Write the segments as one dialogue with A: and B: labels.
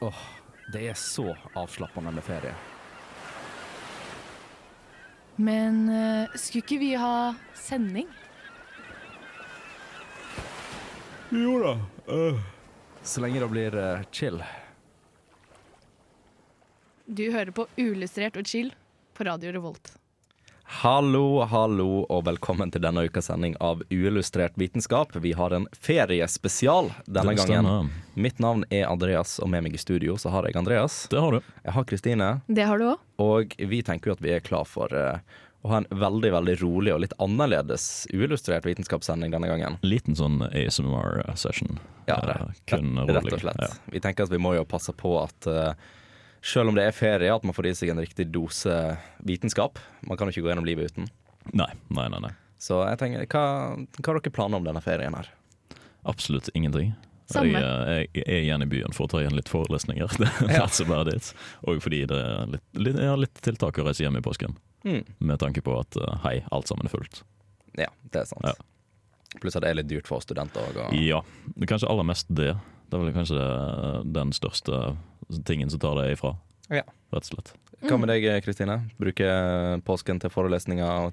A: Åh, det er så avslappende med ferie.
B: Men eh, skulle ikke vi ha sending?
A: Jo da. eh. Så lenge det blir eh, chill.
B: Du hører på Ulystrert og chill på Radio Revolt.
C: Hallo, hallo, og velkommen til denne ukas sending av Uillustrert vitenskap. Vi har en feriespesial denne
D: Det
C: gangen.
D: stemmer.
C: Mitt navn er Andreas, og med meg i studio så har jeg Andreas.
D: Det har du.
C: Jeg har Kristine,
B: Det har du òg.
C: og vi tenker jo at vi er klar for eh, å ha en veldig, veldig rolig og litt annerledes uillustrert vitenskapssending denne gangen.
D: Liten sånn ASMR-session.
C: Ja, rett,
D: kun
C: rett
D: rolig.
C: og slett.
D: Ja.
C: Vi tenker at vi må jo passe på at eh, selv om det er ferie, at man får i seg en riktig dose vitenskap. Man kan jo ikke gå gjennom livet uten.
D: Nei, nei, nei, nei.
C: Så jeg tenker, hva, hva har dere planer om denne ferien her?
D: Absolutt ingenting.
B: Samme.
D: Jeg, eh, jeg er igjen i byen for å ta igjen litt forelesninger. Det er altså bare det. Og fordi det er litt, litt, jeg har litt tiltak å reise hjem i påsken.
C: Mm.
D: Med tanke på at eh, hei, alt sammen er fullt.
C: Ja, det er sant.
D: Ja.
C: Pluss at det er litt dyrt for studenter òg. Og...
D: Ja, det er kanskje aller mest det. Det er vel kanskje det, den største tingen som tar det ifra.
C: Ja.
D: Rett og slett.
C: Hva med deg, Kristine? Bruke påsken til forelesninger og,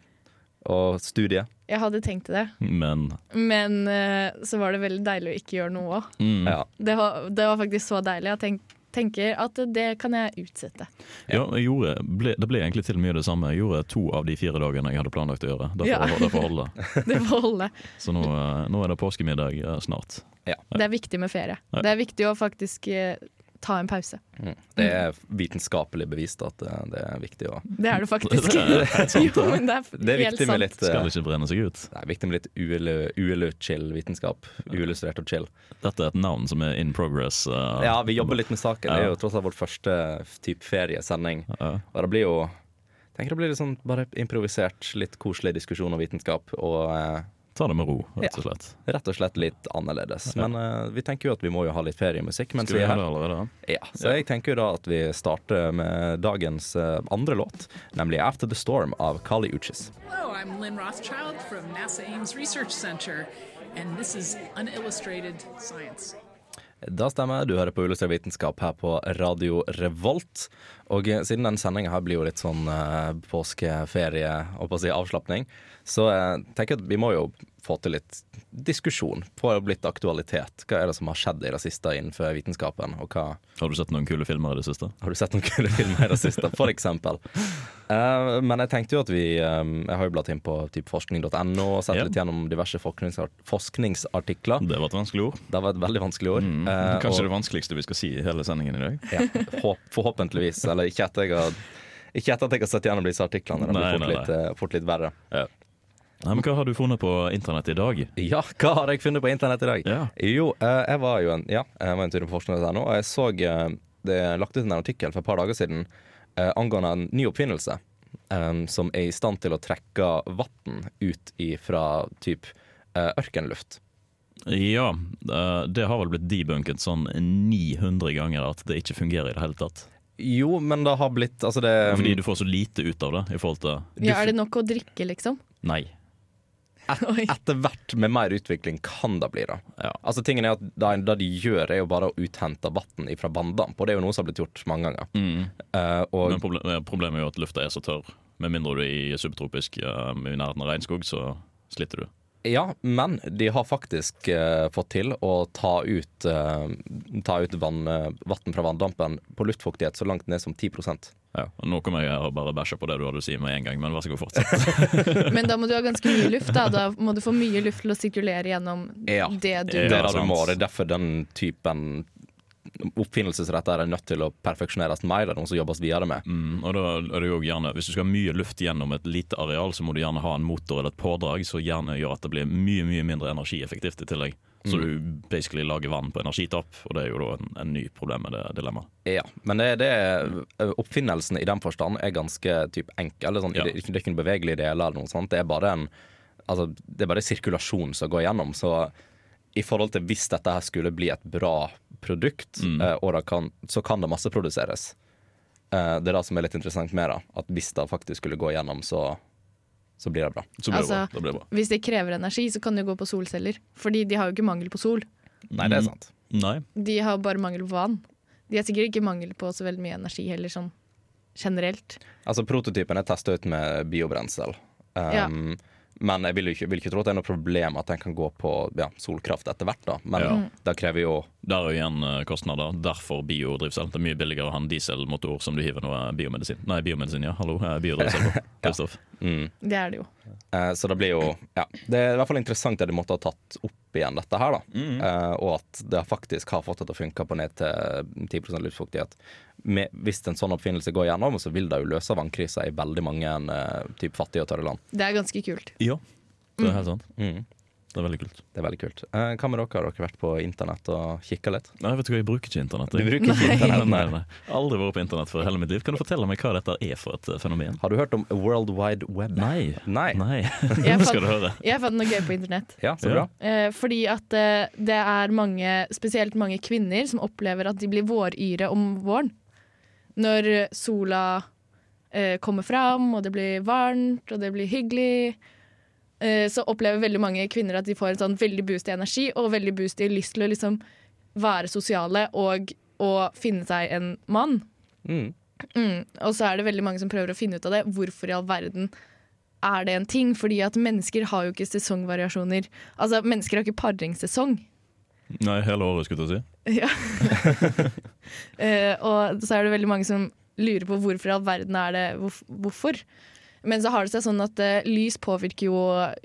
C: og studie?
B: Jeg hadde tenkt det,
D: Men
B: men eh, så var det veldig deilig å ikke gjøre noe òg.
D: mm,
C: Ja.
B: Det, var- det var faktisk så deilig. Jeg tenk, tenker at det kan jeg utsette.
D: Ja, jeg gjorde, ble, Det ble egentlig til mye det samme. Jeg gjorde to av de fire dagene jeg hadde planlagt å gjøre. Derfor,
B: Ja.
D: derfor holder det.
B: Det får holde.
D: Så nå, eh, nå er det påskemiddag eh, snart.
B: Det er viktig med ferie.
D: Ja.
B: Det er viktig å faktisk eh, ta en pause.
C: Mm. Det er vitenskapelig bevist at eh, det er viktig å
B: Det er det faktisk.
D: Det er
B: jo, men det er,
C: Det er
B: helt
C: viktig med
B: sant.
C: litt, eh,
D: Skal ikke brenne seg ut.
C: det er viktig med litt uelu-chill vitenskap. Uillustrert og chill.
D: Dette er et navn som er in progress. eh,
C: Ja, vi jobber litt med saken. Det er jo
D: Ja.
C: tross alt vår første type feriesending.
D: ja.
C: Og det blir jo jeg tenker det blir litt sånn bare improvisert, litt koselig diskusjon om vitenskap. Og eh,
D: ta det med ro, rett og slett.
C: rett og slett litt annerledes. Men eh, vi tenker jo at vi må jo ha litt feriemusikk mens
D: Skal
C: vi
D: vi
C: er
D: gjøre
C: her.
D: det allerede?
C: Ja, så jeg tenker jo da at vi starter med dagens eh, andre låt, nemlig 'After The Storm' av Kali Uchis.
E: Hello, I'm Lynn Rothschild from NASA Ames Research Center, and this is Unillustrated Science.
C: Da stemmer, du hører på Ulystrert vitenskap her på Radio Revolt. Og eh, siden den sendinga her blir jo litt sånn eh, påskeferie og på å si avslapning, så eh, tenker jeg at vi må jo få til litt diskusjon på litt aktualitet. Hva er det som har skjedd i det siste innenfor vitenskapen, og hva
D: Har du sett noen kule filmer i det siste?
C: Har du sett noen kule filmer i det siste, for eksempel? Eh, men jeg tenkte jo at vi eh, Jeg har jo bladd inn på typ forskning.no og sett
D: Ja.
C: litt gjennom diverse forskningsart forskningsartikler.
D: Det var et vanskelig ord.
C: Det var et veldig vanskelig ord. eh,
D: Mm. Kanskje
C: og,
D: det vanskeligste vi skal si i hele sendingen i dag.
C: ja, håp, forhåpentligvis. Eller ikke etter jeg har ikke etter at jeg har sett gjennom disse artiklene. Det blir
D: Nei,
C: fort,
D: nei,
C: Litt, eh, fort litt verre.
D: Nei, men Hva har du funnet på internett i dag?
C: Ja, hva har jeg funnet på internett i dag?
D: Ja.
C: Jo, eh, jeg var jo en, ja, jeg var en tur på forskning.no, og jeg så eh, det er lagt ut en artikkel for et par dager siden eh, angående en ny oppfinnelse eh, som er i stand til å trekke vann ut ifra typ eh, ørkenluft.
D: Ja, eh, Det har vel blitt debunket sånn 900 ganger at det ikke fungerer i det hele tatt.
C: Jo, men det har blitt Altså, det
D: Fordi du får så lite ut av det i forhold til
B: Ja, er det nok å drikke, liksom?
D: Nei.
B: Oi.
C: Etter hvert med mer utvikling kan det bli det.
D: Ja.
C: Altså, tingen er at Det, det de gjør, er jo bare å uthente vann ifra vanndamp, og det er jo noe som har blitt gjort mange ganger. Eh, og
D: Mm. Men proble eh, problemet er jo at lufta er så tørr. Med mindre du er i subtropisk eh, i nærheten av regnskog, så sliter du.
C: Ja, men de har faktisk eh, fått til å ta ut, uh, ta ut vann, eh, vatten fra vanndampen på luftfuktighet så langt ned som 10
D: Ja. og Nå kommer jeg her og bare bæsjer på det du hadde å si med en gang, men vær så god, fortsett.
B: Men da må du ha ganske mye luft. Da, da må du få mye luft til å sirkulere gjennom
C: Ja.
B: det du
C: Det er
D: Ja,
C: det du
D: sant.
C: må. Det er derfor den typen oppfinnelse som dette er er nødt til å perfeksjoneres mer. Det er noe som jobbes videre med.
D: Mm, og da er det jo gjerne, Hvis du skal ha mye luft gjennom et lite areal, så må du gjerne ha en motor eller et pådrag som gjerne gjør at det blir mye mye mindre energieffektivt i tillegg. Så du basically lager vann på energitap, og det er jo da en, en ny problem med det dilemmaet.
C: Ja, Men det, det, eh, oppfinnelsen i den forstand er ganske typ, enkel. Eller sånn,
D: Ja.
C: det, det er ikke noen bevegelige deler eller noe sånt. Det er bare en altså, det er bare sirkulasjon som går gjennom. Så i forhold til hvis dette her skulle bli et bra produkt, eh, og det kan, så kan det masseproduseres. Eh, det er det som er litt interessant med det. At hvis det faktisk skulle gå gjennom, så, så blir det bra.
D: Så blir
B: Altså-
D: det, bra. det blir bra.
B: Hvis det krever energi, så kan det jo gå på solceller. Fordi de har jo ikke mangel på sol.
C: Mm. Nei, det er sant.
D: Nei,
B: De har bare mangel på vann. De har sikkert ikke mangel på så veldig mye energi heller, sånn generelt.
C: Altså Prototypen er testa ut med biobrensel. Um,
B: Ja.
C: Men jeg vil jo ikke, vil ikke tro at det er noe problem at den kan gå på ja, solkraft etter hvert. da Men
D: Ja.
C: det krever jo
D: Der er jo igjen eh, kostnader. Derfor biodrivsel. Det er mye billigere å ha en dieselmotor som du hiver noe eh, biomedisin Nei, biomedisin, ja. Hallo, eh, biodrivsel på. Kristoff.
C: mm.
B: Det er det jo.
C: eh, Så det blir jo ja, Det er i hvert fall interessant at de måtte ha tatt opp igjen dette her. da eh, Og at det faktisk har fått det til å funke på ned til 10 luftfuktighet. Med, hvis en sånn oppfinnelse går gjennom, så vil det jo løse vannkrisa i veldig mange eh, typ fattige og tørre land.
B: Det er ganske kult.
D: Ja, det er helt sant.
C: Mm.
D: Det er veldig kult.
C: Det er veldig kult. Eh, hva med dere? Har dere vært på internett og kikka litt?
D: Nei, vet du hva, jeg bruker ikke internett.
C: Du
D: jeg.
C: bruker ikke
D: Nei,
C: internett,
D: nei,
C: nei.
D: nei. Aldri vært på internett for hele mitt liv. Kan du fortelle meg hva dette er for et eh, fenomen?
C: Har du hørt om World Wide Web?
D: Nei.
C: Nei.
D: Nei.
B: Jeg
D: Nå skal du høre.
B: Jeg fant noe gøy på internett.
C: Ja, så
D: Ja.
C: bra.
B: Eh, fordi at eh, det er mange, spesielt mange kvinner, som opplever at de blir våryre om våren. Når eh, sola eh, kommer fram, og det blir varmt, og det blir hyggelig. Eh, så opplever veldig mange kvinner at de får en sånn veldig boost i energi, og veldig boost i lyst til å liksom være sosiale og, og finne seg en mann.
C: Mm.
B: Mm. Og så er det veldig mange som prøver å finne ut av det. Hvorfor i all verden er det en ting? Fordi at mennesker har jo ikke sesongvariasjoner. Altså, mennesker har ikke paringssesong.
D: Nei, hele året, skulle jeg til å si.
B: Ja. Eh, og så er det veldig mange som lurer på hvorfor i all verden er det hvorf- hvorfor. Men så har det seg sånn at eh, lys påvirker jo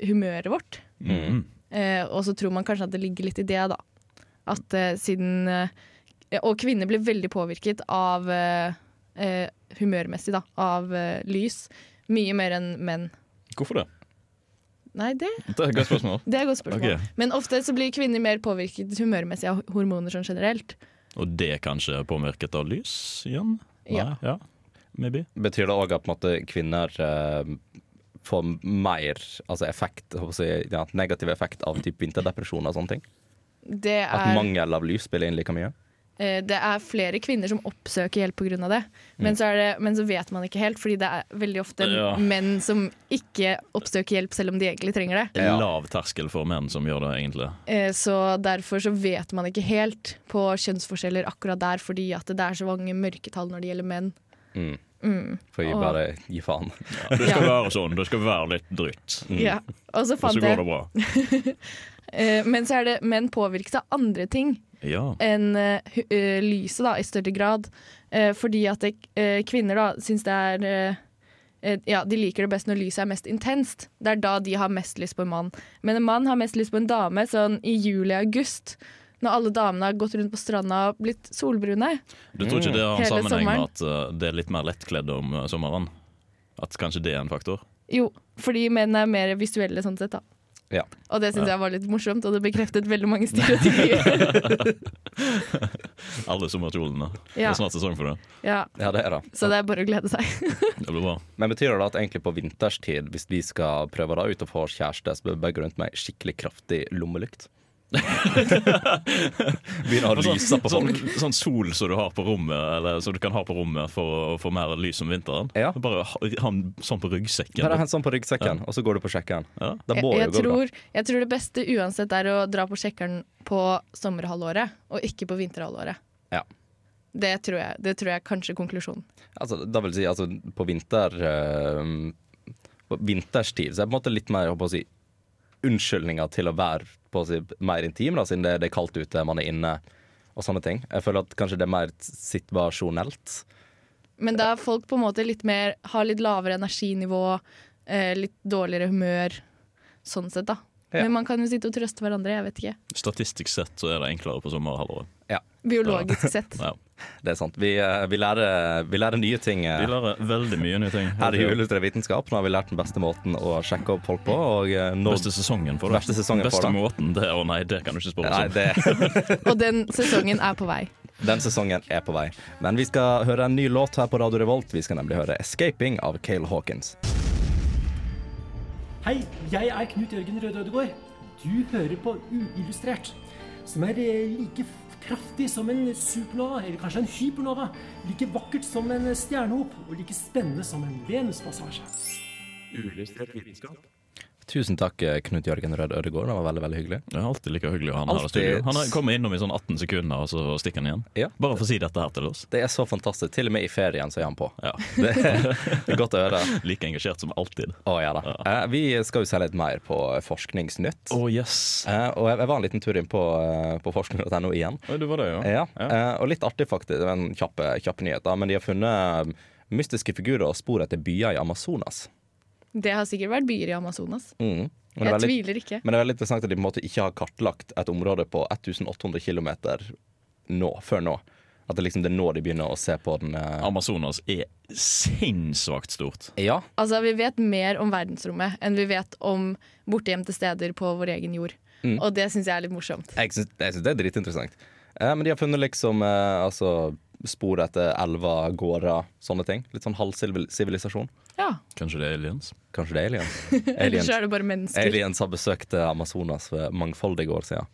B: humøret vårt.
D: Mm.
B: Eh, og så tror man kanskje at det ligger litt i det, da. At eh, siden eh, Og kvinner blir veldig påvirket av eh, eh, humørmessig, da. Av eh, lys. Mye mer enn menn.
D: Hvorfor det?
B: Nei, det,
D: Det er et godt spørsmål.
B: det er et godt spørsmål.
D: Ok.
B: Men ofte så blir kvinner mer påvirket humørmessig av hormoner sånn generelt.
D: Og det er kanskje påvirket av lys igjen? Nei,
B: Ja.
D: ja. Maybe.
C: Betyr det òg at på en måte, kvinner eh, får mer altså effekt, jeg håper å si, ja, negativ effekt av typ vinterdepresjon og sånne ting?
B: Det
C: At
B: er,
C: mangel av lys spiller inn like mye?
B: eh, det er flere kvinner som oppsøker hjelp pga. det. Men, så er det. men så vet man ikke helt, fordi det er veldig ofte
D: Mm. Ja.
B: menn som ikke oppsøker hjelp selv om de egentlig trenger det.
C: Ja.
D: Lav terskel for menn som gjør det, egentlig.
B: Eh, Så derfor så vet man ikke helt på kjønnsforskjeller akkurat der, fordi at det er så mange mørketall når det gjelder menn.
C: Mm.
B: Mm.
C: For jeg
B: Åh.
C: bare gi faen.
D: Det skal
B: Ja. Mm.
D: være sånn. Det skal være litt drøyt.
B: Ja. Og så
D: Mm. Og så
B: fant
D: går
B: jeg
D: det bra.
B: eh, Men så er det menn påvirkes av andre ting
D: Ja.
B: enn eh, hu- eh, lyset, da, i større grad. Eh, fordi at det, eh, kvinner da syns det er eh, eh, Ja, de liker det best når lyset er mest intenst. Det er da de har mest lyst på en mann. Men en mann har mest lyst på en dame sånn i juli-august. Når alle damene har gått rundt på stranda og blitt solbrune.
D: Du tror ikke det har en
B: Hele
D: sammenheng med at eh, det er litt mer lettkledd om eh, sommeren? At kanskje det er en faktor?
B: Jo, fordi menn er mer visuelle sånn sett, da.
C: Ja.
B: Og det syns jeg var litt morsomt, og det bekreftet veldig mange stereotypier.
D: Alle sommerkjolene. Det
B: ja,
D: er snart sesong for det.
B: ja.
C: ja, det er det.
B: Så det er bare å glede seg.
D: Det blir bra.
C: Men betyr det at egentlig på vinterstid, hvis vi skal prøve det ut og få kjæreste, så bør vi begge rundt med skikkelig kraftig lommelykt? Begynner å lyse på
D: sånn,
C: folk.
D: sånn sol som du har på rommet Eller som du kan ha på rommet for å få mer lys om vinteren.
C: Ja.
D: Bare ha ha den sånn på ryggsekken.
C: Bare hent sånn på ryggsekken, og så går du på sjekken.
D: Ja.
C: Det
B: Jeg,
C: må jo
B: jeg,
C: gå bra.
B: tror, jeg tror det beste uansett er å dra på sjekkeren på sommerhalvåret, og ikke på vinterhalvåret.
C: Ja.
B: Det tror jeg, det tror jeg er kanskje konklusjonen.
C: Altså, da vil si altså, på vinter eh, På vinterstid så er det på en måte litt mer jeg håper å si, unnskyldninger til å være på å si, mer intim, da, siden det, det er kaldt ute, man er inne og sånne ting. Jeg føler at kanskje det er mer situasjonelt.
B: Men da er folk på en måte litt mer har litt lavere energinivå, eh, litt dårligere humør, sånn sett, da.
C: Ja.
B: Men man kan jo sitte og trøste hverandre, jeg vet ikke.
D: Statistisk sett så er det enklere på sommerhalvåret.
B: Biologisk sett.
D: Ja.
C: Det er sant. Vi, eh, vi, lærer, vi lærer nye ting. eh,
D: Vi lærer veldig mye nye ting.
C: Her i Ullustrert vitenskap Nå har vi lært den beste måten å sjekke opp folk på. Og eh, nå
D: Beste sesongen for det.
C: Beste sesongen for
D: Beste
C: det.
D: måten, det Å nei, det kan du ikke spørre
C: Nei,
D: oss om.
C: det,
B: Og den sesongen er på vei.
C: den sesongen er på vei. Men vi skal høre en ny låt her på Radio Revolt. Vi skal nemlig høre 'Escaping' av Cale Hawkins.
F: Hei, jeg er Knut Jørgen Røde Ødegård. Du hører på Uillustrert, som er eh, like f- kraftig som en supernova, eller kanskje en hypernova, like vakkert som en stjernehop, og like spennende som en venuspassasje.
C: Tusen takk, eh, Knut Jørgen Rød Ødegård. Det var veldig veldig hyggelig.
D: Det er alltid like hyggelig å ha han her i
C: Alltid.
D: studio. Han er- kommer innom i sånn 18 sekunder, og så stikker han igjen.
C: Ja.
D: Bare for å si dette her til oss.
C: Det er så fantastisk. Til og med i ferien så er han på.
D: Ja,
C: Det er godt å høre.
D: Like engasjert som alltid.
C: Å, ja da. Eh, Vi skal jo se litt mer på Forskningsnytt.
D: Å, yes.
C: Eh, Og jeg jeg var en liten tur inn på, eh, på forskning.no igjen.
D: Oi, det var det, ja.
C: Ja, eh, og litt artig faktisk, det var en kjapp, eh, kjapp nyhet da, men de har funnet um, mystiske figurer og spor etter byer i Amazonas.
B: Det har sikkert vært byer i Amazonas.
C: Mm. Men, det
B: Jeg
C: er veldig,
B: tviler ikke.
C: men det er veldig interessant at de på en måte ikke har kartlagt et område på 1800 km nå, før nå. At det liksom det er nå de begynner å se på den eh,
D: Amazonas er sinnssvakt stort.
C: Ja,
B: Altså, Vi vet mer om verdensrommet enn vi vet om bortgjemte steder på vår egen jord.
C: Mm.
B: Og det syns jeg er litt morsomt.
C: jeg syns, jeg syns det er dritinteressant. Eh, men de har funnet liksom eh, altså, spor etter elver, gårder, sånne ting. Litt sånn halvsivilisasjon.
B: Ja,
D: Kanskje det er aliens?
C: Kanskje det er aliens?
B: Ellers
C: aliens.
B: så er det bare mennesker.
C: Aliens har besøkt eh, Amazonas for mangfoldige år siden.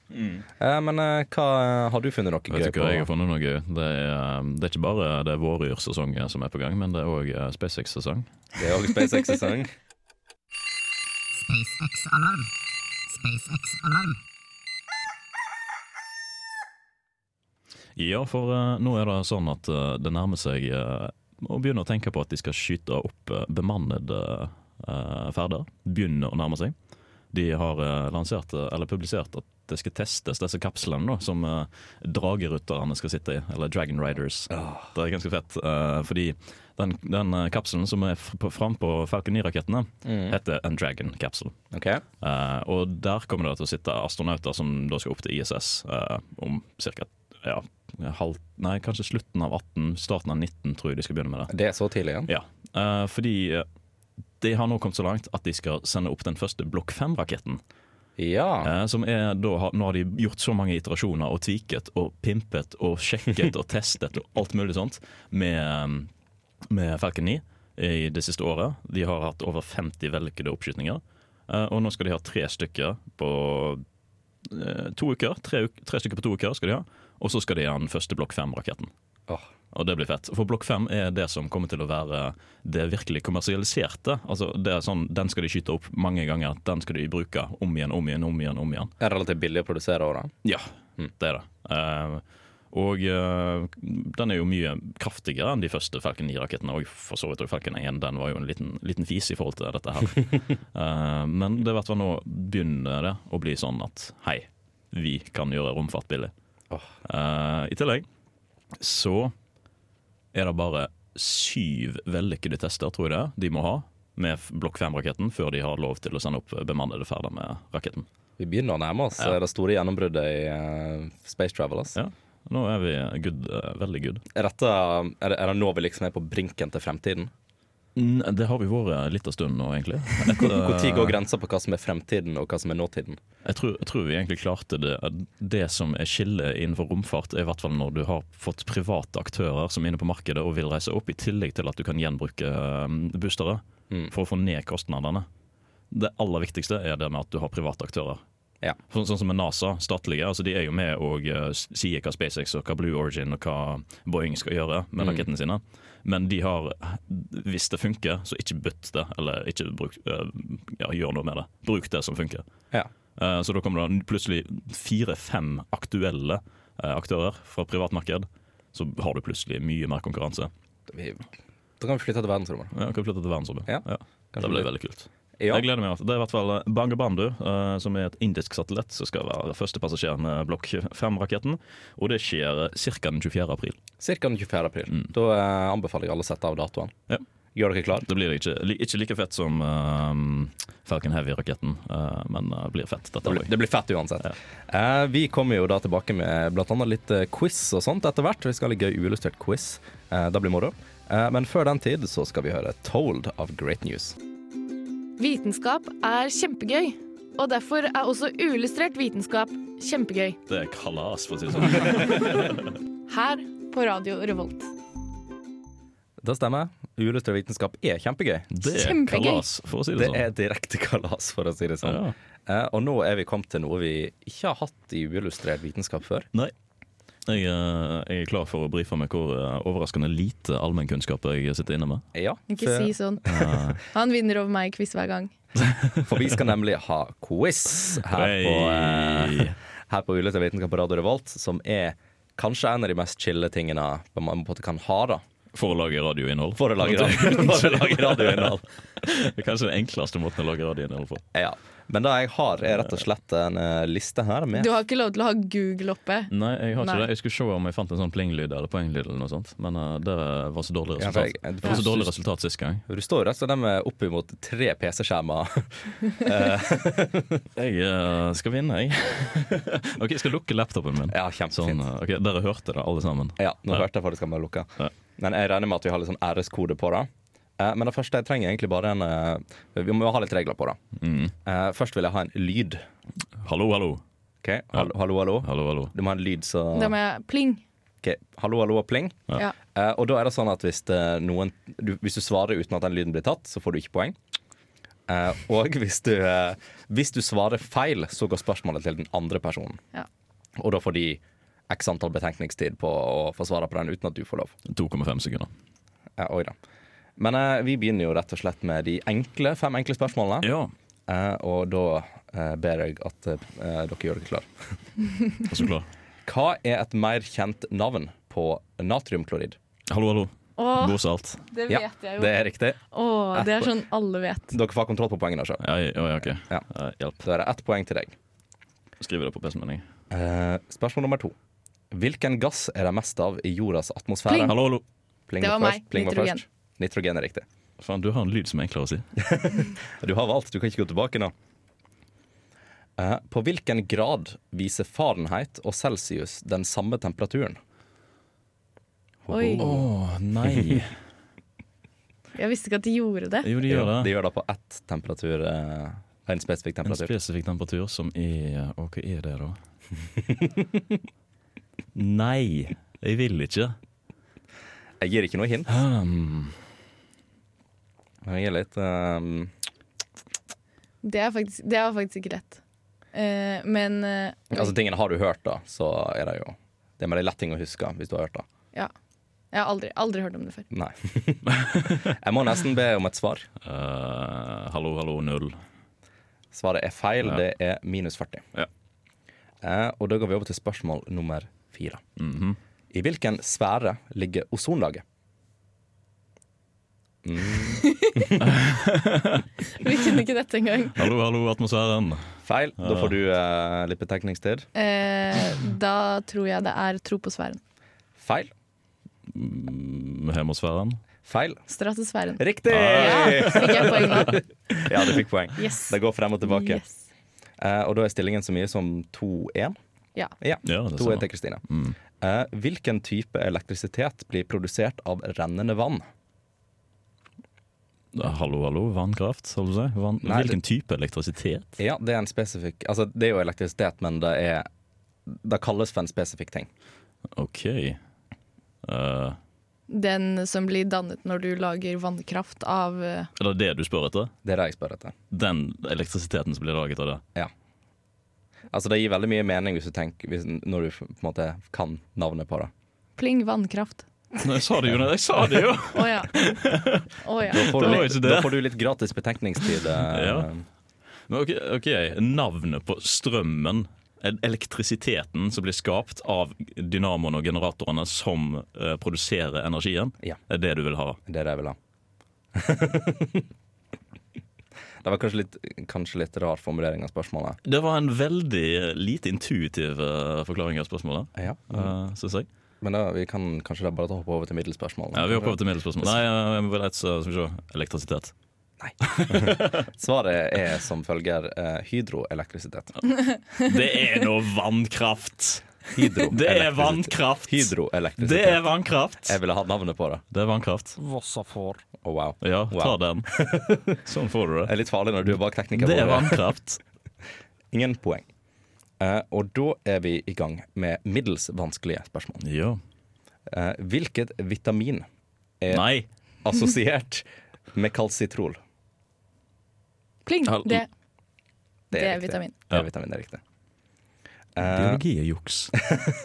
C: Eh, men eh, hva eh, har du funnet noe
D: Mm. Vet
C: gøy
D: du hva, jeg har funnet noe gøy. Det er, eh, det er ikke bare det er våryrsesong som er på gang, men det er òg SpaceX-sesong.
C: Det er òg SpaceX-sesong.
G: SpaceX-alarm. SpaceX-alarm.
D: Ja, for eh, nå er det sånn at eh, det nærmer seg eh, å begynne å tenke på at de skal skyte opp eh, bemannede eh, ferder. Begynner å nærme seg. De har eh, lansert, eh, eller publisert at det skal testes disse kapslene da, som eh, dragerytterne skal sitte i, eller Dragon Riders. Det er ganske fett, eh, fordi den, den eh, kapselen som er f- på- fram på Falcon 9-rakettene, heter en Dragon Capsule.
C: Ok.
D: Eh, og der kommer det til å sitte astronauter som da skal opp til ISS eh, om ca. Ja, halv, nei, kanskje slutten av 18, starten av 19, tror jeg de skal begynne med det.
C: Det er så tidlig igjen?
D: Ja, eh, fordi eh, de har nå kommet så langt at de skal sende opp den første Blokk 5-raketten.
C: Ja.
D: Eh, som er da, har- nå har de gjort så mange iterasjoner og tviket og pimpet og sjekket og testet og alt mulig sånt med, mm, med Falcon 9 i det siste året. De har hatt over 50 vellykkede oppskytninger. Eh, og nå skal de ha tre stykker på eh, to uker. Tre, uk- tre stykker på to uker skal de ha. Og så skal de ha den første Blokk 5-raketten.
C: Åh.
D: Og det blir fett. For Blokk 5 er det som kommer til å være det virkelig kommersialiserte. Altså, det er sånn, Den skal de skyte opp mange ganger. Den skal de bruke om igjen, om igjen, om igjen. om igjen.
C: Det er relativt billig å produsere òg, da.
D: Ja, mm, det er det. Eh, og eh, den er jo mye kraftigere enn de første Falcon 9-rakettene. Og for så vidt også Falcon 1 den var jo en liten, liten fis i forhold til dette her. Eh, men det er i hvert fall nå begynner det å bli sånn at hei, vi kan gjøre romfart billig.
C: Åh.
D: Eh, I tillegg så er det bare syv vellykkede tester, tror jeg det er, de må ha med Blokk 5-raketten før de har lov til å sende opp bemannede ferder med raketten.
C: Vi begynner å nærme oss
D: Ja.
C: det store gjennombruddet i eh, Space Travel. ass.
D: Ja. Nå er vi good, eh, veldig good.
C: Er, dette, er, det, er det nå vi liksom er på brinken til fremtiden?
D: Mm, Det har vi vært litt av stund nå, egentlig. Etter,
C: Når går grensa på hva som er fremtiden, og hva som er nåtiden?
D: jeg, tror, jeg tror vi egentlig klarte det. Det som er skillet innenfor romfart, er i hvert fall når du har fått private aktører som er inne på markedet og vil reise opp, i tillegg til at du kan gjenbruke eh, boostere
C: Mm.
D: for å få ned kostnadene. Det aller viktigste er det med at du har private aktører.
C: Ja.
D: Sånn, sånn som med NASA, statlige. altså De er jo med og eh, sier hva SpaceX og hva Blue Origin og hva Boeing skal gjøre
C: Mm.
D: med rakettene sine. Men de har Hvis det funker, så ikke bytt det, eller ikke bruk, eh, ja, gjør noe med det. Bruk det som funker.
C: Ja.
D: Eh, Så da kommer det plutselig fire-fem aktuelle eh, aktører fra privatmarked. Så har du plutselig mye mer konkurranse.
C: Vi, da kan vi flytte til verdensrommet.
D: Ja, kan flytte til verdensrommet.
C: Ja.
D: Det blir veldig kult.
C: Ja.
D: Jeg gleder meg. altså. Det er i hvert fall Bangabandhu, eh, som er et indisk satellitt, som skal være første passasjer med Blokk 5-raketten. Og det skjer ca. den 24. april.
C: Cirka den 24. april. Da eh, anbefaler jeg alle å sette av datoen.
D: Mm. Ja.
C: Gjør dere klar?
D: Det blir ikke, li- ikke like fett som eh, Falcon Heavy-raketten, eh, men det blir fett. Dette
C: Det blir,
D: også.
C: det blir fett uansett. Eh, vi kommer jo da tilbake med bl.a. litt eh, quiz og sånt etter hvert. Vi skal ha litt gøy uillustrert quiz. Eh, det blir moro. Eh, men før den tid så skal vi høre Told of Great News.
B: Vitenskap er kjempegøy, og derfor er også uillustrert vitenskap kjempegøy.
D: Det er kalas, for å si det sånn.
B: Her på Radio Revolt.
C: Det stemmer. Uillustrert vitenskap er kjempegøy.
D: Det er
B: Kjempegøy.
D: kalas, for å si det
C: Det
D: sånn.
C: er direkte kalas, for å si det sånn.
D: Ja.
C: Eh, og nå er vi kommet til noe vi ikke har hatt i uillustrert vitenskap før.
D: Nei. Jeg, eh, jeg er klar for å brife med hvor eh, overraskende lite allmennkunnskap jeg sitter inne med.
C: Ja,
B: Ikke
C: for-
B: si sånn. Han vinner over meg i quiz hver gang.
C: For vi skal nemlig ha quiz her på,
D: Hey.
C: eh, her på Uløse vitenskap på Radio Revolt, som er kanskje en av de mest chille tingene man på en måte kan ha da
D: For å lage radioinnhold.
C: for å lage, radio, for å lage radioinnhold.
D: Det er kanskje den enkleste måten å lage radioinnhold på.
C: Ja. Men det jeg har, er rett og slett en eh, liste her med
B: Du har ikke lov til å ha Google oppe.
D: Nei, jeg har ikke
B: Nei.
D: det. Jeg skulle se om jeg fant en sånn plinglyd eller poenglyd, eller noe sånt men eh, det var så dårlig
C: Ja,
D: resultat.
C: for jeg- jeg-
D: det var så dårlig resultat sist gang.
C: Du står jo rett og slett med oppimot tre PC-skjermer.
D: Jeg eh, skal vinne, jeg. ok, Jeg skal lukke laptopen min.
C: Ja,
D: Sånn,
C: kjempefint.
D: eh, ok, Dere hørte det, alle sammen.
C: Ja, nå hørte jeg faktisk at man lukka.
D: Ja.
C: Men jeg regner med at vi har litt sånn RS-kode på det. Eh, Men det første jeg trenger egentlig bare en eh, Vi må jo ha litt regler på det.
D: Mm.
C: Eh, Først vil jeg ha en lyd.
D: Hallo, hallo.
C: Ok, Hallo, hallo, hallo.
D: Hallo, hallo.
C: Du må ha en lyd som
B: Da må jeg pling.
C: Ok, Hallo, hallo og pling.
D: Ja.
B: Ja.
C: Eh, Og da er det sånn at hvis, det er noen, du, hvis du svarer uten at den lyden blir tatt, så får du ikke poeng. Eh, og hvis du, eh, hvis du svarer feil, så går spørsmålet til den andre personen.
B: Ja.
C: Og da får de x antall betenkningstid på å få svare på den uten at du får lov.
D: 2,5 sekunder.
C: Ja, Eh, oi da. Men eh, vi begynner jo rett og slett med de enkle, fem enkle spørsmålene.
D: Ja,
C: Eh, og da eh, ber jeg at eh, dere gjør dere klar.
D: er så klar.
C: Hva er et mer kjent navn på natriumklorid?
D: Hallo, hallo.
B: Åh,
D: Bordsalt.
B: det vet jeg
C: det
B: jo.
C: er riktig.
B: Åh, det er sånn alle vet.
C: Dere får kontroll på poengene sjøl.
D: Ja, ja, ja, ok.
C: Ja.
D: Eh, hjelp.
C: Da er det ett poeng til deg.
D: Skriv det på PC-en min. jeg.
C: Eh, spørsmål nummer to. Hvilken gass er det mest av i jordas atmosfære?
B: Pling.
D: Hallo, hallo.
C: Pling
B: Det var
C: først,
B: meg.
C: Pling var
B: Nitrogen.
C: først. Nitrogen er riktig.
D: Faen, du har en lyd som er enklere å si.
C: Du har valgt, du kan ikke gå tilbake nå. Eh, på hvilken grad viser Fahrenheit og Celsius den samme temperaturen?
B: Oi.
D: Å nei.
B: Jeg visste ikke at de gjorde det.
D: Jo, de gjør det.
C: De gjør det på ett temperatur. eh, en spesifikk
D: En
C: temperatur.
D: spesifikk temperatur som er Og hva er det, da? Nei, jeg vil ikke.
C: Jeg gir ikke noe hint.
D: Hmm.
C: Jeg gir litt ehm,
B: Det er faktisk, det var faktisk ikke rett. Eh, men eh,
C: Altså, tingene har du hørt, da, så er det jo Det er veldig lett ting å huske hvis du har hørt det.
B: ja. Jeg har aldri, aldri hørt om det før.
C: Nei. jeg må nesten be om et svar.
D: Eh, hallo, hallo, null.
C: Svaret er feil.
D: Ja.
C: Det er minus 40.
D: Ja.
C: Eh, og da går vi over til spørsmål nummer fire.
D: Mhm.
C: I hvilken sfære ligger ozonlaget?
B: Vi kunne ikke dette engang.
D: Hallo, hallo, atmosfæren.
C: Feil. Da får du eh, litt betenkningstid.
B: Eh, da tror jeg det er troposfæren.
C: Feil.
D: Mm, Hemosfæren.
C: Feil.
B: Stratosfæren.
C: Riktig!
B: Ja, fikk jeg poeng nå?
C: Ja, du fikk poeng.
B: Yes.
C: Det går frem og tilbake.
B: Yes.
C: Eh, og da er stillingen så mye som 2-1.
B: Ja.
C: Ja,
D: Ja, det sånn.
C: 2-1
D: stemmer.
C: til Kristine. Eh, hvilken type elektrisitet blir produsert av rennende vann?
D: Eh, Hallo, hallo, vannkraft, holdt jeg på å si. Vann,
C: Nei,
D: hvilken type elektrisitet?
C: Ja, det er en spesifikk Altså, det er jo elektrisitet, men det er Det kalles for en spesifikk ting.
D: OK. Eh,
B: Den som blir dannet når du lager vannkraft av eh,
D: er det det du spør etter?
C: Det er det jeg spør etter.
D: Den elektrisiteten som blir laget av det?
C: Ja. Altså, det gir veldig mye mening hvis du tenker hvis, Når du på en måte kan navnet på det.
B: pling vannkraft.
D: Nei, jeg sa det jo! Nei, jeg sa det jo!
B: Å ja. Å ja.
C: Får du
D: Det var
C: litt,
D: ikke det.
C: da får du litt gratis betenkningstid. eh,
D: Ja. Men ok, ok, Navnet på strømmen, el- elektrisiteten som blir skapt av dynamoene og generatorene som eh, produserer energien,
C: Ja.
D: er det du vil ha?
C: Det er det jeg vil ha. det var kanskje litt, kanskje litt rar formulering av spørsmålet.
D: Det var en veldig lite intuitiv eh, forklaring av spørsmålet, uh, syns jeg.
C: Mm. Men da, vi kan kanskje da bare ta hoppe over til middelspørsmålet.
D: Ja, vi hopper over til middelspørsmål. Nei, eh, jeg må bare et, eh, skal vi se. Elektrisitet.
C: Svaret er som følger eh, hydroelektrisitet.
D: Det er nå vannkraft!
C: Hydro
D: Det er vannkraft!
C: Hydroelektrisitet.
D: Det er vannkraft!
C: Jeg ville ha navnet på det.
D: Det er vannkraft.
C: Å, wow.
D: Ja, ta
C: Wow.
D: den. Sånn får du
C: Det
D: det.
C: er litt farlig når du er bak tekniker.
D: Det er vannkraft.
C: Ingen poeng. Eh, og da er vi i gang med middels vanskelige spørsmål.
D: Ja.
C: Eh, hvilket vitamin er
D: Nei.
C: assosiert med kalsitrol?
B: Pling.
D: Hal-
B: Det, det er
C: riktig.
B: vitamin.
C: Det er vitamin, det er riktig. Eh,
D: Biologi er juks.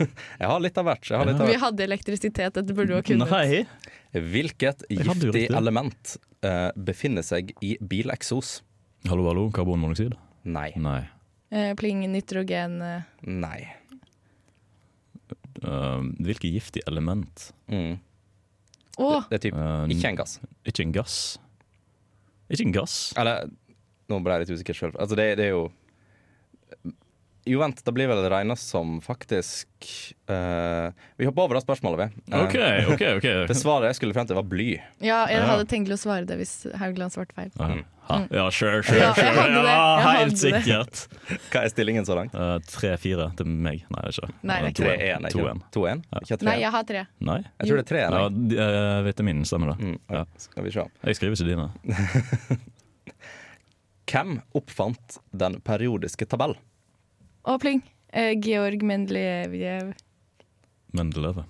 C: Jeg har litt av hvert. Jeg har litt av
B: Vi
C: hvert.
B: hadde elektrisitet, dette burde du ha kunnet.
D: Nei.
C: Hvilket
D: Jeg hadde jo
C: giftig
D: riktig.
C: element eh, befinner seg i bileksos?
D: Hallo, hallo, karbonmonoksid?
C: Nei.
D: Nei.
B: Eh, pling nitrogen eh,
C: Nei.
D: Eh, hvilke giftige element?
C: Mm.
B: Å!
C: Det er typ
D: Eh,
C: ikke en gass.
D: Ikke en gass? Ikke en gass?
C: Eller Nå ble jeg litt usikker sjøl. Altså, det, det er jo Jo, vent, det blir vel regna som faktisk eh, Vi hopper over det spørsmålet, vi. Eh,
D: OK, OK. ok
C: Det svaret jeg skulle frem til, var bly.
B: Ja, jeg
D: Ja.
B: hadde tenkt å svare det hvis Haugland svarte feil.
D: Ah, ha. Ja, sure, sure.
B: Mm. Ja, jeg
D: sure.
B: hadde det.
D: Ja,
B: Jeg
D: helt
B: hadde det.
D: sikkert.
C: Hva er stillingen så langt?
D: Eh, Tre-fire til meg. Nei, det er ikke Uh,
B: Nei, det er ikke det.
C: 3-1, ikke det? 2-1? Ikke 3-1?
B: Nei, jeg har tre.
D: Nei?
C: Jeg tror det er 3-1.
D: Ja,
C: jeg.
D: d- eh, vitaminen stemmer, det.
C: Mm,
D: Ja.
C: Skal vi se.
D: Jeg skriver ikke dine.
C: Hvem oppfant den periodiske tabell?
B: Å, pling. Eh, Georg Mendelejev,
D: Mendeleve.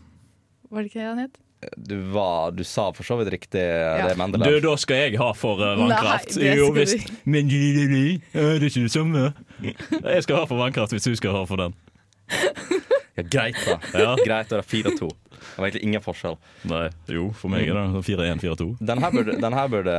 B: var det ikke det han het?
C: Du, var, du sa for så vidt riktig eh, det,
D: Du,
C: Mendelev.
D: da skal jeg ha for eh, vannkraft.
B: Nei, det
D: jo
B: skal du
D: visst. Men du, du, du, eh, det er ikke det samme. Jeg skal ha for vannkraft hvis du skal ha for den.
C: Ja, greit, da.
D: Ja.
C: Greit, da er det 4-2. Det var egentlig ingen forskjell.
D: Nei, jo, for meg er det 4-1-4-2.
C: Den her burde, den her burde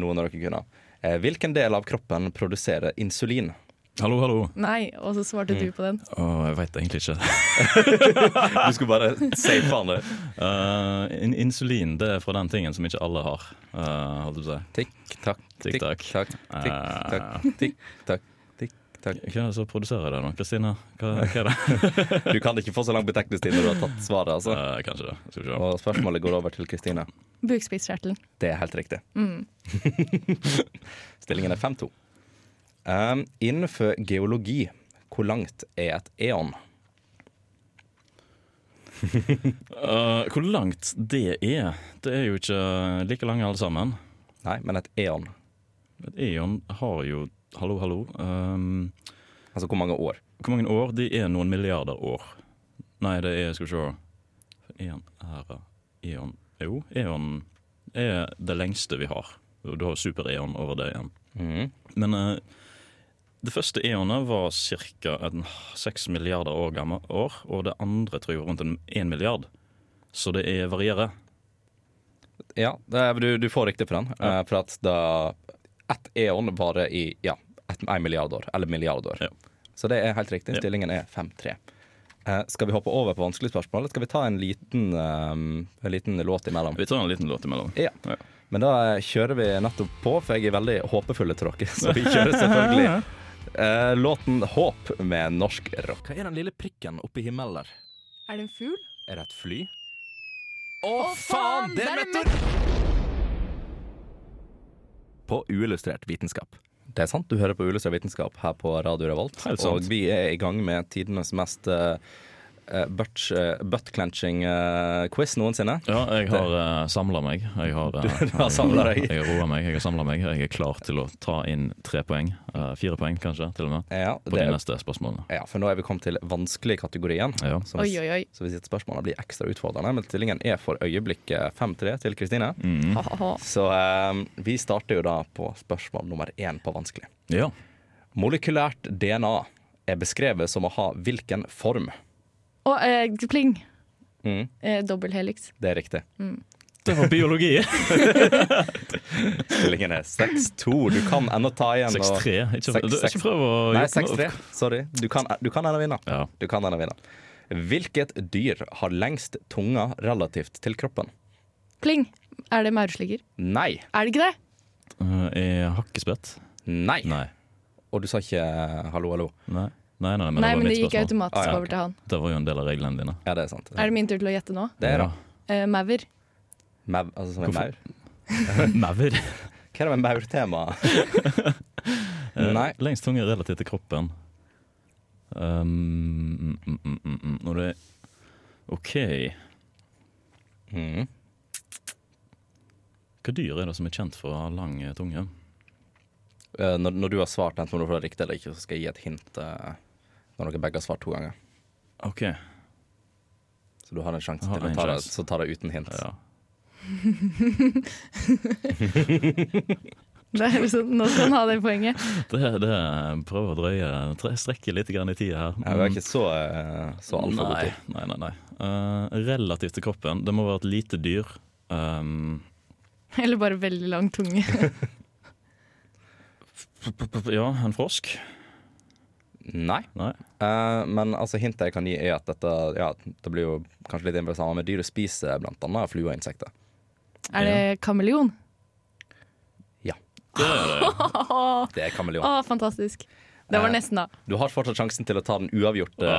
C: noen av dere kunne. Eh, Hvilken del av kroppen produserer insulin?
D: Hallo, hallo.
B: Nei, og så svarte
C: Mm.
B: du på den.
D: Å, jeg veit egentlig ikke.
C: Du skulle bare safe han det.
D: Eh, in insulin det er fra den tingen som ikke alle har. eh, holdt jeg på å si.
C: Tikk takk, tikk
D: Tikk-takk.
C: takk, Eh. tikk takk, tikk takk, tikk takk.
D: Hva er det som produserer det nå? Kristina? Hva, hva er det?
C: Du kan ikke få så lang betenkningstid når du har tatt svaret, altså.
D: Eh, kanskje det. Skal vi se.
C: Og spørsmålet går over til Kristine.
B: Bukspyttkjertelen.
C: Det er helt riktig. Stillingen er 5-2. Um, innenfor geologi, hvor langt er et eon?
D: Eh, hvor langt det er? Det er jo ikke like lange alle sammen.
C: Nei, men et eon.
D: Men Eon har jo Hallo, hallo. ehm,
C: Altså hvor mange år?
D: hvor mange år? De er noen milliarder år. Nei, det er Skal vi se Eon æra Eon Jo, Eon er det lengste vi har. Du har super-Eon over det igjen.
C: Mhm.
D: Men eh, det første eonet var ca. 6 milliarder år gammel år, og det andre tror jeg var rundt 1 milliard. Så det er varierer.
C: Ja, det er, du, du får riktig for den. eh, for at da ett eon varer i ja, ett- en milliard år. Eller milliard år.
D: Ja.
C: Så det er helt riktig.
D: Ja.
C: Stillingen er 5-3. Eh, skal vi hoppe over på vanskelige spørsmål, eller skal vi ta en liten, eh, en liten låt imellom?
D: Vi tar en liten låt imellom.
C: Ja.
D: Ja.
C: Men da eh, kjører vi nettopp på, for jeg er veldig håpefull til dere. Så vi kjører selvfølgelig eh, låten 'Håp' med norsk rock. Hva er den lille prikken oppi himmelen der?
B: Er det en fugl?
C: Er det et fly? Å,
B: faen, det er en
C: På uillustrert vitenskap. Det er sant, du hører på Uillustrert vitenskap her på Radio Revolt.
D: Helt sant.
C: Og vi er i gang med tidenes mest eh, eh, butt- eh, butt-clenching eh, quiz noensinne.
D: Ja, jeg har uh, samla meg. Jeg har, eh,
C: Du har samlet deg.
D: Jeg har roa meg, jeg har samlet meg. Jeg er klar til å ta inn tre poeng. eh, fire poeng, kanskje, til og med.
C: Ja,
D: På
C: det,
D: de neste spørsmålene.
C: ja, for nå er vi kommet til vanskelig kategorien.
D: Ja.
C: Som
B: Oi, oi, oi.
C: Så hvis et spørsmål blir ekstra utfordrende, men stillingen er for øyeblikket 5-3 til Kristine.
D: Mm.
B: Ha, ha, ha.
C: Så eh, vi starter jo da på spørsmål nummer én på vanskelig.
D: ja.
C: Molekylært DNA er beskrevet som å ha hvilken form?
B: Og eh, pling.
C: Mm.
B: Eh, Dobbelthelix.
C: Det er riktig.
D: Det var biologi!
C: Stillingen er 6-2. Du kan ennå ta igjen. og-
D: 6-3. Ikke,
C: Seks-
D: du- ikke prøv å
C: Nei,
D: jukke meg
C: 6-3.
D: opp.
C: Sorry. Du kan, du kan ennå vinne.
D: Ja.
C: Du kan ennå vinne. Hvilket dyr har lengst tunga relativt til kroppen?
B: Pling. Er det maursligger?
C: Nei.
B: Er det ikke det?
D: Eh, er hakkespett?
C: Nei.
D: Nei.
C: Og du sa ikke eh, hallo, hallo.
D: Nei, nei, nei,
B: Nei,
D: men det
B: men
D: var
B: det
D: mitt
B: gikk
D: spørsmål.
B: automatisk
C: Ah, ja, ok.
B: over til han.
D: Det var jo en del av reglene dine.
C: Ja, det er sant.
B: Er det min tur til å gjette nå?
C: Det er det.
B: Eh, Maur.
C: Mau- altså som en
D: Hvorfor-
C: maur?
D: Maur.
C: Hva er det med maurtema? Nei.
D: Eh, Lengst tunge relativt til kroppen. Um, mm, mm, mm, mm, mm. Når det er OK,
C: Mm.
D: hva dyr er det som er kjent for å ha lang eh, tunge?
C: Eh, Når, når du har svart enten om du får det riktig eller ikke, så skal jeg gi et hint eh, når dere begge har svart to ganger.
D: OK.
C: Så du har en sjanse
D: Jeg har
C: til å
D: en
C: ta det,
D: sjanse.
C: så ta det uten hint.
D: Ja.
B: Det er sånn, nå skal han ha det poenget.
D: Det, det prøver å drøye tre, Strekke litt grann i tida her.
C: Jeg er ikke så, eh, så
D: Mm,
C: altfor god
D: nei,
C: til.
D: nei, nei, nei. Eh, relativt til kroppen. Det må være et lite dyr. Um,
B: Eller bare veldig lang tunge.
D: Ja, en frosk?
C: Nei.
D: Nei.
C: Eh, men altså, hintet jeg kan gi, er at dette ja, det blir jo kanskje litt inn på det samme, men dyret spiser blant annet fluer og insekter.
B: Er det kameleon?
D: Det er det.
C: Det er kameleon.
B: Å, fantastisk. Det var
C: Eh,
B: nesten, da.
C: Du har fortsatt sjansen til å ta den uavgjorte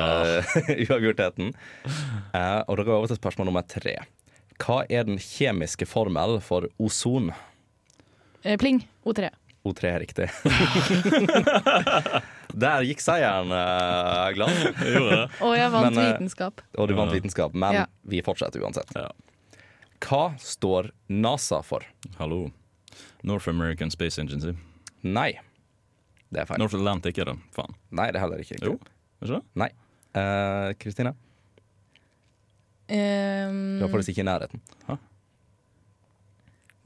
C: uavgjortheten. Eh, og da går vi over til spørsmål nummer tre. Hva er den kjemiske formel for ozon?
B: Eh, Pling. O3.
C: O3 er riktig. Der gikk seieren, eh, Glad.
D: Jeg gjorde det.
B: Og jeg vant
C: Men, eh,
B: vitenskap.
C: Og du vant vitenskap, men
B: Ja.
C: vi fortsetter uansett.
D: Ja.
C: Hva står NASA for?
D: Hallo. North American Space Agency.
C: Nei. Det er feil.
D: North Atlantic er det. Faen.
C: Nei, det er heller ikke riktig.
D: Jo, er ikke det?
C: Nei. Eh, Kristine, du var
B: Um,
C: faktisk ikke i nærheten.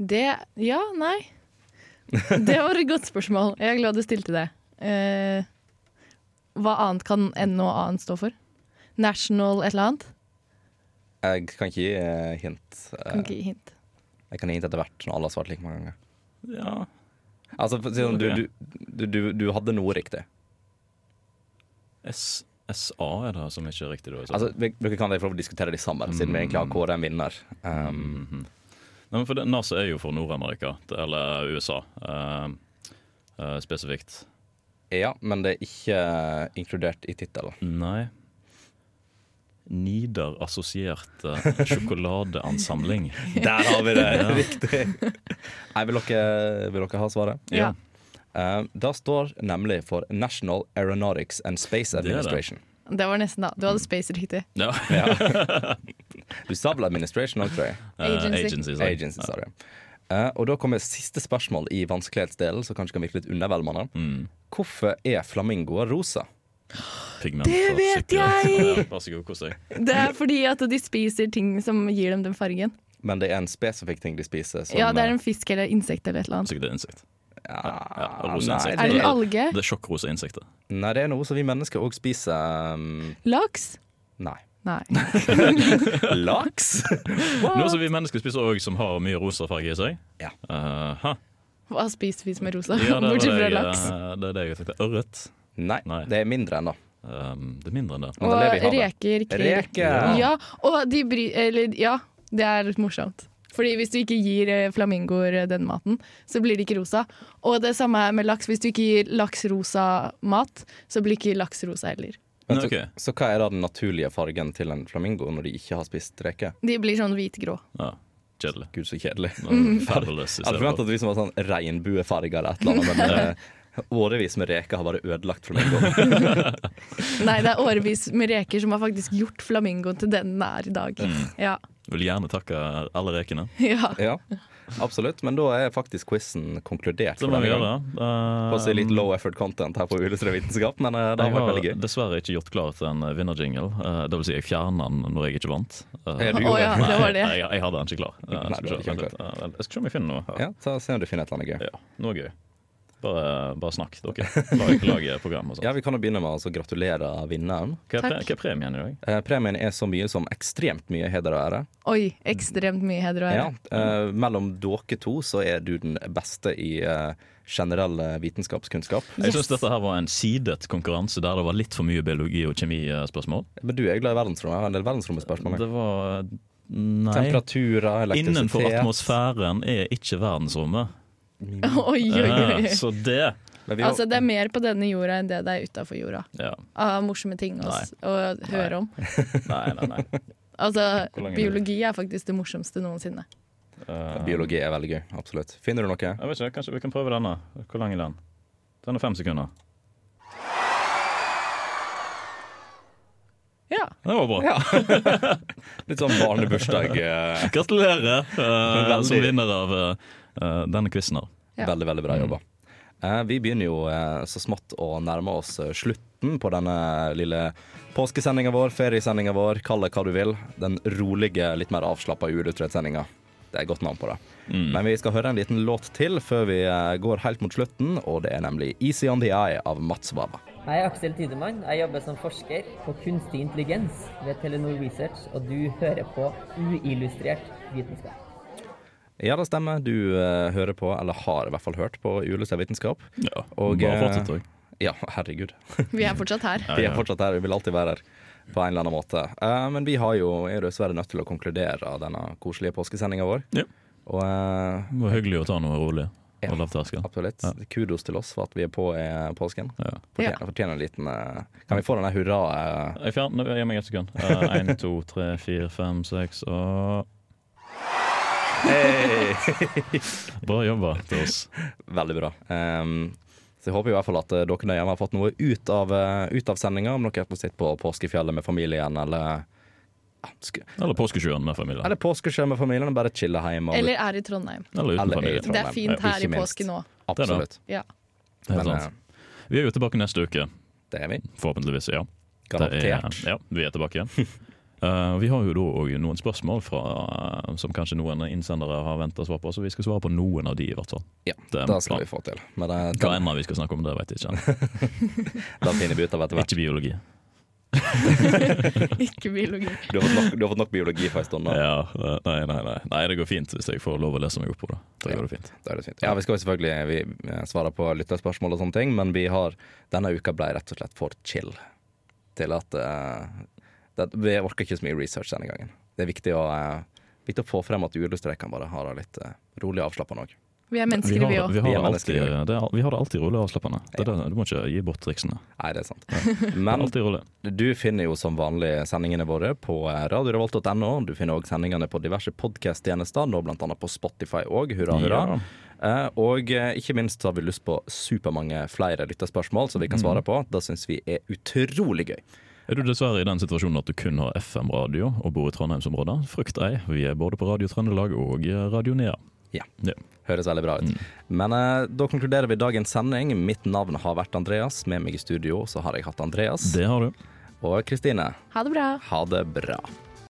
B: det Ja, nei. Det var et godt spørsmål. Jeg er glad du stilte det. Eh, hva annet kan noe annet stå for? National et eller annet?
C: Jeg kan ikke gi eh, hint. Eh,
B: Kan ikke gi hint.
C: Jeg kan gi hint etter hvert, når alle har svart like mange ganger.
D: Ja.
C: Altså, for å si det sånn, du, du, du, du hadde noe riktig.
D: S SA er det som ikke er riktig. Da, i så Mm.
C: Altså, vi- Dere kan få lov å diskutere de sammen, siden vi egentlig har kåret en vinner. Um,
D: Nei, men for det, NASA er jo for Nord-Amerika, det- eller USA eh, eh, spesifikt.
C: ja, men det er ikke eh, inkludert i tittelen.
D: Nei. Nidar-assosierte sjokoladeansamling.
C: Der har vi det! Riktig. Nei, vil dere, vil dere ha svaret?
B: Ja.
C: Eh, da står nemlig for National Aeronautics and Space
D: er det.
C: Administration.
B: Det var nesten, da. Du hadde space riktig.
D: Ja.
C: Du sa vel Administration òg, tror jeg.
D: Eh,
B: Agency.
D: agency, sorry.
C: Agency, sorry. Eh, og da kommer siste spørsmål i vanskelighetsdelen, som kanskje kan virke litt underveldende. Hvorfor er flamingoer rosa?
D: Pigment
B: Det
D: og
B: vet
D: sukker.
B: jeg!
D: Ja, Vær så god, kos deg.
B: Det er fordi at de spiser ting som gir dem den fargen.
C: Men det er en spesifikk ting de spiser. Som, eh,
B: Ja, det er en fisk eller insekt eller et eller annet.
D: Sikkert det er insekt.
C: ja,
D: Ja,
C: Ah,
D: rosa
C: nei,
D: insekter.
B: Er det en
C: er-
B: alge?
D: Det er sjokkrosa insekter.
C: Nei, det er noe som vi mennesker òg spiser. Um,
B: Laks?
C: nei.
B: Nei.
C: Laks?
D: Noe som vi mennesker spiser òg, som har mye rosa farge i seg.
C: Ja.
D: Eh, hæ?
B: Hva spiser vi som er rosa?
D: Ja, det, var det,
B: Bortsett fra
D: jeg,
B: laks.
D: eh, det er det jeg tenkte. Ørret.
C: nei,
D: Nei.
C: det er mindre enn da.
D: Um, det er mindre enn det.
C: Men da lever vi
B: Og
C: i havet.
B: reker. krill.
C: Reker!
B: Ja, og de bry... Eller, ja, det er litt morsomt. Fordi hvis du ikke gir eh, flamingoer eh, den maten, så blir de ikke rosa. Og det samme er med laks. Hvis du ikke gir laks rosa mat, så blir ikke laks rosa heller.
C: Men
D: Nei,
C: så,
D: ok.
C: så hva er da den naturlige fargen til en flamingo når de ikke har spist reker?
B: De blir sånn hvitgrå.
D: Ja, kjedelig.
C: Gud, så kjedelig.
D: Fabulous.
C: Jeg hadde forventet at det liksom var sånn regnbuefarger eller et eller annet, men eh, årevis med reker har bare ødelagt flamingoen.
B: Nei, det er årevis med reker som har faktisk gjort flamingoen til den den er i dag. Ja.
D: Vil gjerne takke alle rekene.
B: ja.
C: Ja, absolutt. Men da er faktisk quizen konkludert.
D: Det
C: for
D: må
C: denne
D: vi gjøre.
C: gangen.
D: Uh,
C: På å si litt low effort content her på Uillustrert vitenskap, men eh, det
D: jeg
C: har vært
D: har
C: veldig gøy.
D: dessverre ikke gjort klar til en eh, vinnerjingle. Eh, det vil si, jeg fjerner den når jeg ikke vant. Eh,
C: Er du-
B: Å ja, det var det.
D: Nei, jeg, jeg hadde den ikke klar. Eh,
C: Nei, du
D: skal
C: hadde
D: vi
C: ikke
D: se, vent
C: den
D: litt. Eh, vent, jeg skal se om jeg finner noe. her.
C: Ja, ta Se om du finner et eller annet gøy.
D: Ja, noe gøy. Bare, bare snakk, dere. Lag, lag program og sånt.
C: Ja, Vi kan jo begynne med å altså gratulere vinneren.
D: Hva, er pre
B: Takk.
D: hva er premien i dag?
C: Eh, Premien er så mye som ekstremt mye heder og ære.
B: Oi, ekstremt mye heder og
C: Ja,
B: ære.
C: eh, mellom dere to så er du den beste i eh, generell eh, vitenskapskunnskap.
D: Jeg syns dette her var en sidet konkurranse der det var litt for mye biologi- og kjemispørsmål.
C: Men du er glad i verdensrommet. Jeg har en del verdensromspørsmål. jeg.
D: Det var Nei.
C: Temperaturer, elektrisitet
D: Innenfor atmosfæren er ikke verdensrommet.
B: Oi, oi,
D: Eh,
B: oi.
D: så det
C: Men vi har-
B: Altså, det er mer på denne jorda enn det det er utafor jorda.
D: ja.
B: Av morsomme ting å, s- å høre om.
D: Nei, nei, nei.
B: Altså,
D: Hvor lang er det?
B: biologi er faktisk det morsomste noensinne.
D: Eh,
C: Biologi er veldig gøy. Absolutt. Finner du noe?
D: jeg vet ikke, Kanskje vi kan prøve denne. Hvor lang er den? Den er fem sekunder.
B: Ja.
D: Det var bra.
C: Litt sånn barnebursdag. eh,
D: Gratulerer eh,
C: Veldig.
D: som vinner av eh, denne quizen her.
B: Ja.
C: Veldig, veldig bra jobba. Eh, Vi begynner jo eh, så smått å nærme oss eh, slutten på denne lille påskesendinga vår, feriesendinga vår, kall det hva du vil. Den rolige, litt mer avslappa Uillustrert-sendinga. Det er et godt navn på det. Men vi skal høre en liten låt til før vi eh, går helt mot slutten, og det er nemlig 'Easy On The Eye' av Mats Wawa.
H: Jeg er Aksel Tidemann. Jeg jobber som forsker på kunstig intelligens ved Telenor Research, og du hører på uillustrert vitenskap.
C: Ja, det stemmer. Du eh, hører på, eller har i hvert fall hørt på, uillustrert vitenskap.
D: Ja,
C: Og,
D: bare
C: eh,
D: fortsett, jeg.
C: Ja, herregud.
B: Vi er fortsatt her.
C: Vi er fortsatt her, vi vil alltid være her. På en eller annen måte. Eh, men vi har jo, er jo dessverre nødt til å konkludere denne koselige påskesendinga vår.
D: Ja.
C: Og eh,
D: Det var hyggelig å ta noe rolig
C: Ja.
D: og lavterskel.
C: absolutt, kudos til oss for at vi er på i eh, påsken.
D: Ja.
C: Fortjener, fortjener en liten eh, Kan vi få den der hurra eh,
D: Jeg fjerner Gi meg ett sekund. Én, to, tre, fire, fem, seks og Bra jobba til oss.
C: Veldig bra. Ehm, så Jeg håper i hvert fall at eh, dere der hjemme har fått noe ut av, eh, ut av sendinga. Om dere sitter på påskefjellet med familien, eller ja, sk-
D: Eller Påskesjøen med familien.
C: Eller påskesjø med familien og bare chille hjemme. Og,
B: Eller er i Trondheim.
D: Eller uten
C: Eller i
D: familie.
B: Det
C: Trondheim,
B: er fint
C: ja,
B: her
C: ikke
B: i
C: minst.
B: påsken òg.
D: det da.
C: Absolutt.
B: Ja.
D: Det er
C: Men,
D: helt sant. Vi er jo tilbake neste uke,
C: eh, det er vi.
D: forhåpentligvis. ja. Det er,
C: Garantert.
D: ja, vi er tilbake igjen. Eh, vi har jo da også noen spørsmål fra, eh, som kanskje noen innsendere har venta svar på, så vi skal svare på noen av de, i hvert fall.
C: Ja,
D: Det er
C: det skal
D: planen.
C: vi få til. Men eh, det,
D: Hva
C: det,
D: enn vi skal snakke om, det vet jeg ikke.
C: det finner vi ut av etter hvert.
D: Ikke biologi.
B: Ikke biologi.
C: Du har fått nok, du har fått nok biologi for en stund nå.
D: Ja, eh, nei, nei, nei. nei, det går fint hvis jeg får lov å lese meg opp på det. Da
C: Ja.
D: går det fint.
C: Da er det fint. Ja, vi skal jo selvfølgelig vi eh, svare på lytterspørsmål og sånne ting, men vi har denne uka ble rett og slett for chill til at eh, det, Vi orker ikke så mye research denne gangen. Det er viktig å, eh, viktig å få frem at uillustrerkene bare har det litt eh, rolig og avslappende òg.
B: Vi er
D: Vi
B: mennesker,
D: har,
B: vi òg.
D: vi
C: Vi er
D: har,
C: mennesker,
D: alltid,
C: vi
D: det er, vi har det alltid rolig og avslappende. Det er det- Du må ikke gi bort triksene.
C: Nei, det er sant.
D: Det er
C: Men
D: alltid rolig.
C: du finner jo som vanlig sendingene våre på eh, radiorevolt.no. Du finner òg sendingene på diverse podkast-tjenester, nå blant annet på Spotify òg. Hurra, hurra.
D: Ja.
C: Eh, Og eh, ikke minst så har vi lyst på supermange flere lytterspørsmål som vi kan svare på. Det syns vi er utrolig gøy.
D: Er du dessverre i den situasjonen at du kun har FM-radio og bor i Trondheimsområdet, frykt ei. Vi er både på Radio Trøndelag og Radio Nea.
C: Ja.
D: Ja.
C: Høres veldig bra ut. Men eh, da konkluderer vi dagens sending. Mitt navn har vært Andreas. Med meg i studio så har jeg hatt Andreas.
D: Det har du.
C: Og Kristine,
B: Ha det bra.
C: ha det bra.